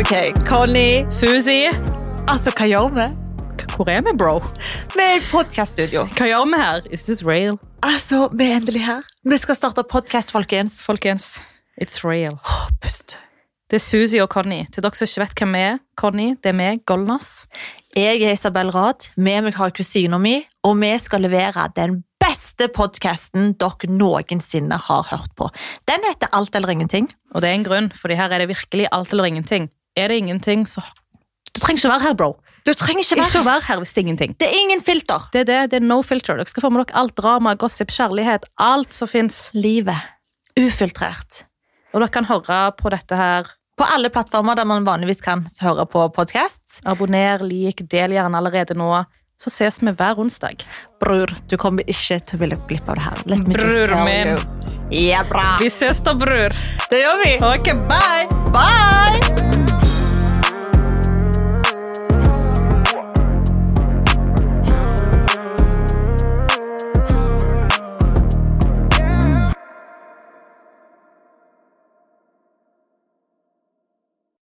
OK, Conny. Susi, Altså, hva gjør vi? k- hvor er vi, bro? Vi er i podkaststudio. Hva gjør vi her? Is this real? Altså, vi er endelig her. Vi skal starte podkast, folkens. Folkens, it's real. Åh, pust. Det er Susi og Conny. Til dere som ikke vet hvem vi er, Conny, det er meg, Golnas. Jeg er Isabel Rad. Med meg har jeg kusina mi, og vi skal levere den beste podkasten dere noensinne har hørt på. Den heter Alt eller ingenting. Og det er en grunn, for her er det virkelig alt eller ingenting. Er det ingenting, så Du trenger ikke være her, bro. Du trenger ikke Ikke være å være her hvis det er ingenting. Det er ingen filter. Det er det, det er no filter. Dere skal få med dere alt drama, gossip, kjærlighet, alt som fins. Livet. Ufiltrert. Og dere kan høre på dette her. På alle plattformer der man vanligvis kan høre på podkast. Abonner, lik, del gjerne allerede nå. Så ses vi hver onsdag. Bror, du kommer ikke til å ville glipp av det her. Let me just Bror tell min. you. Ja, bra. Vi ses da, bror. Det gjør vi. Ok, bye! Bye!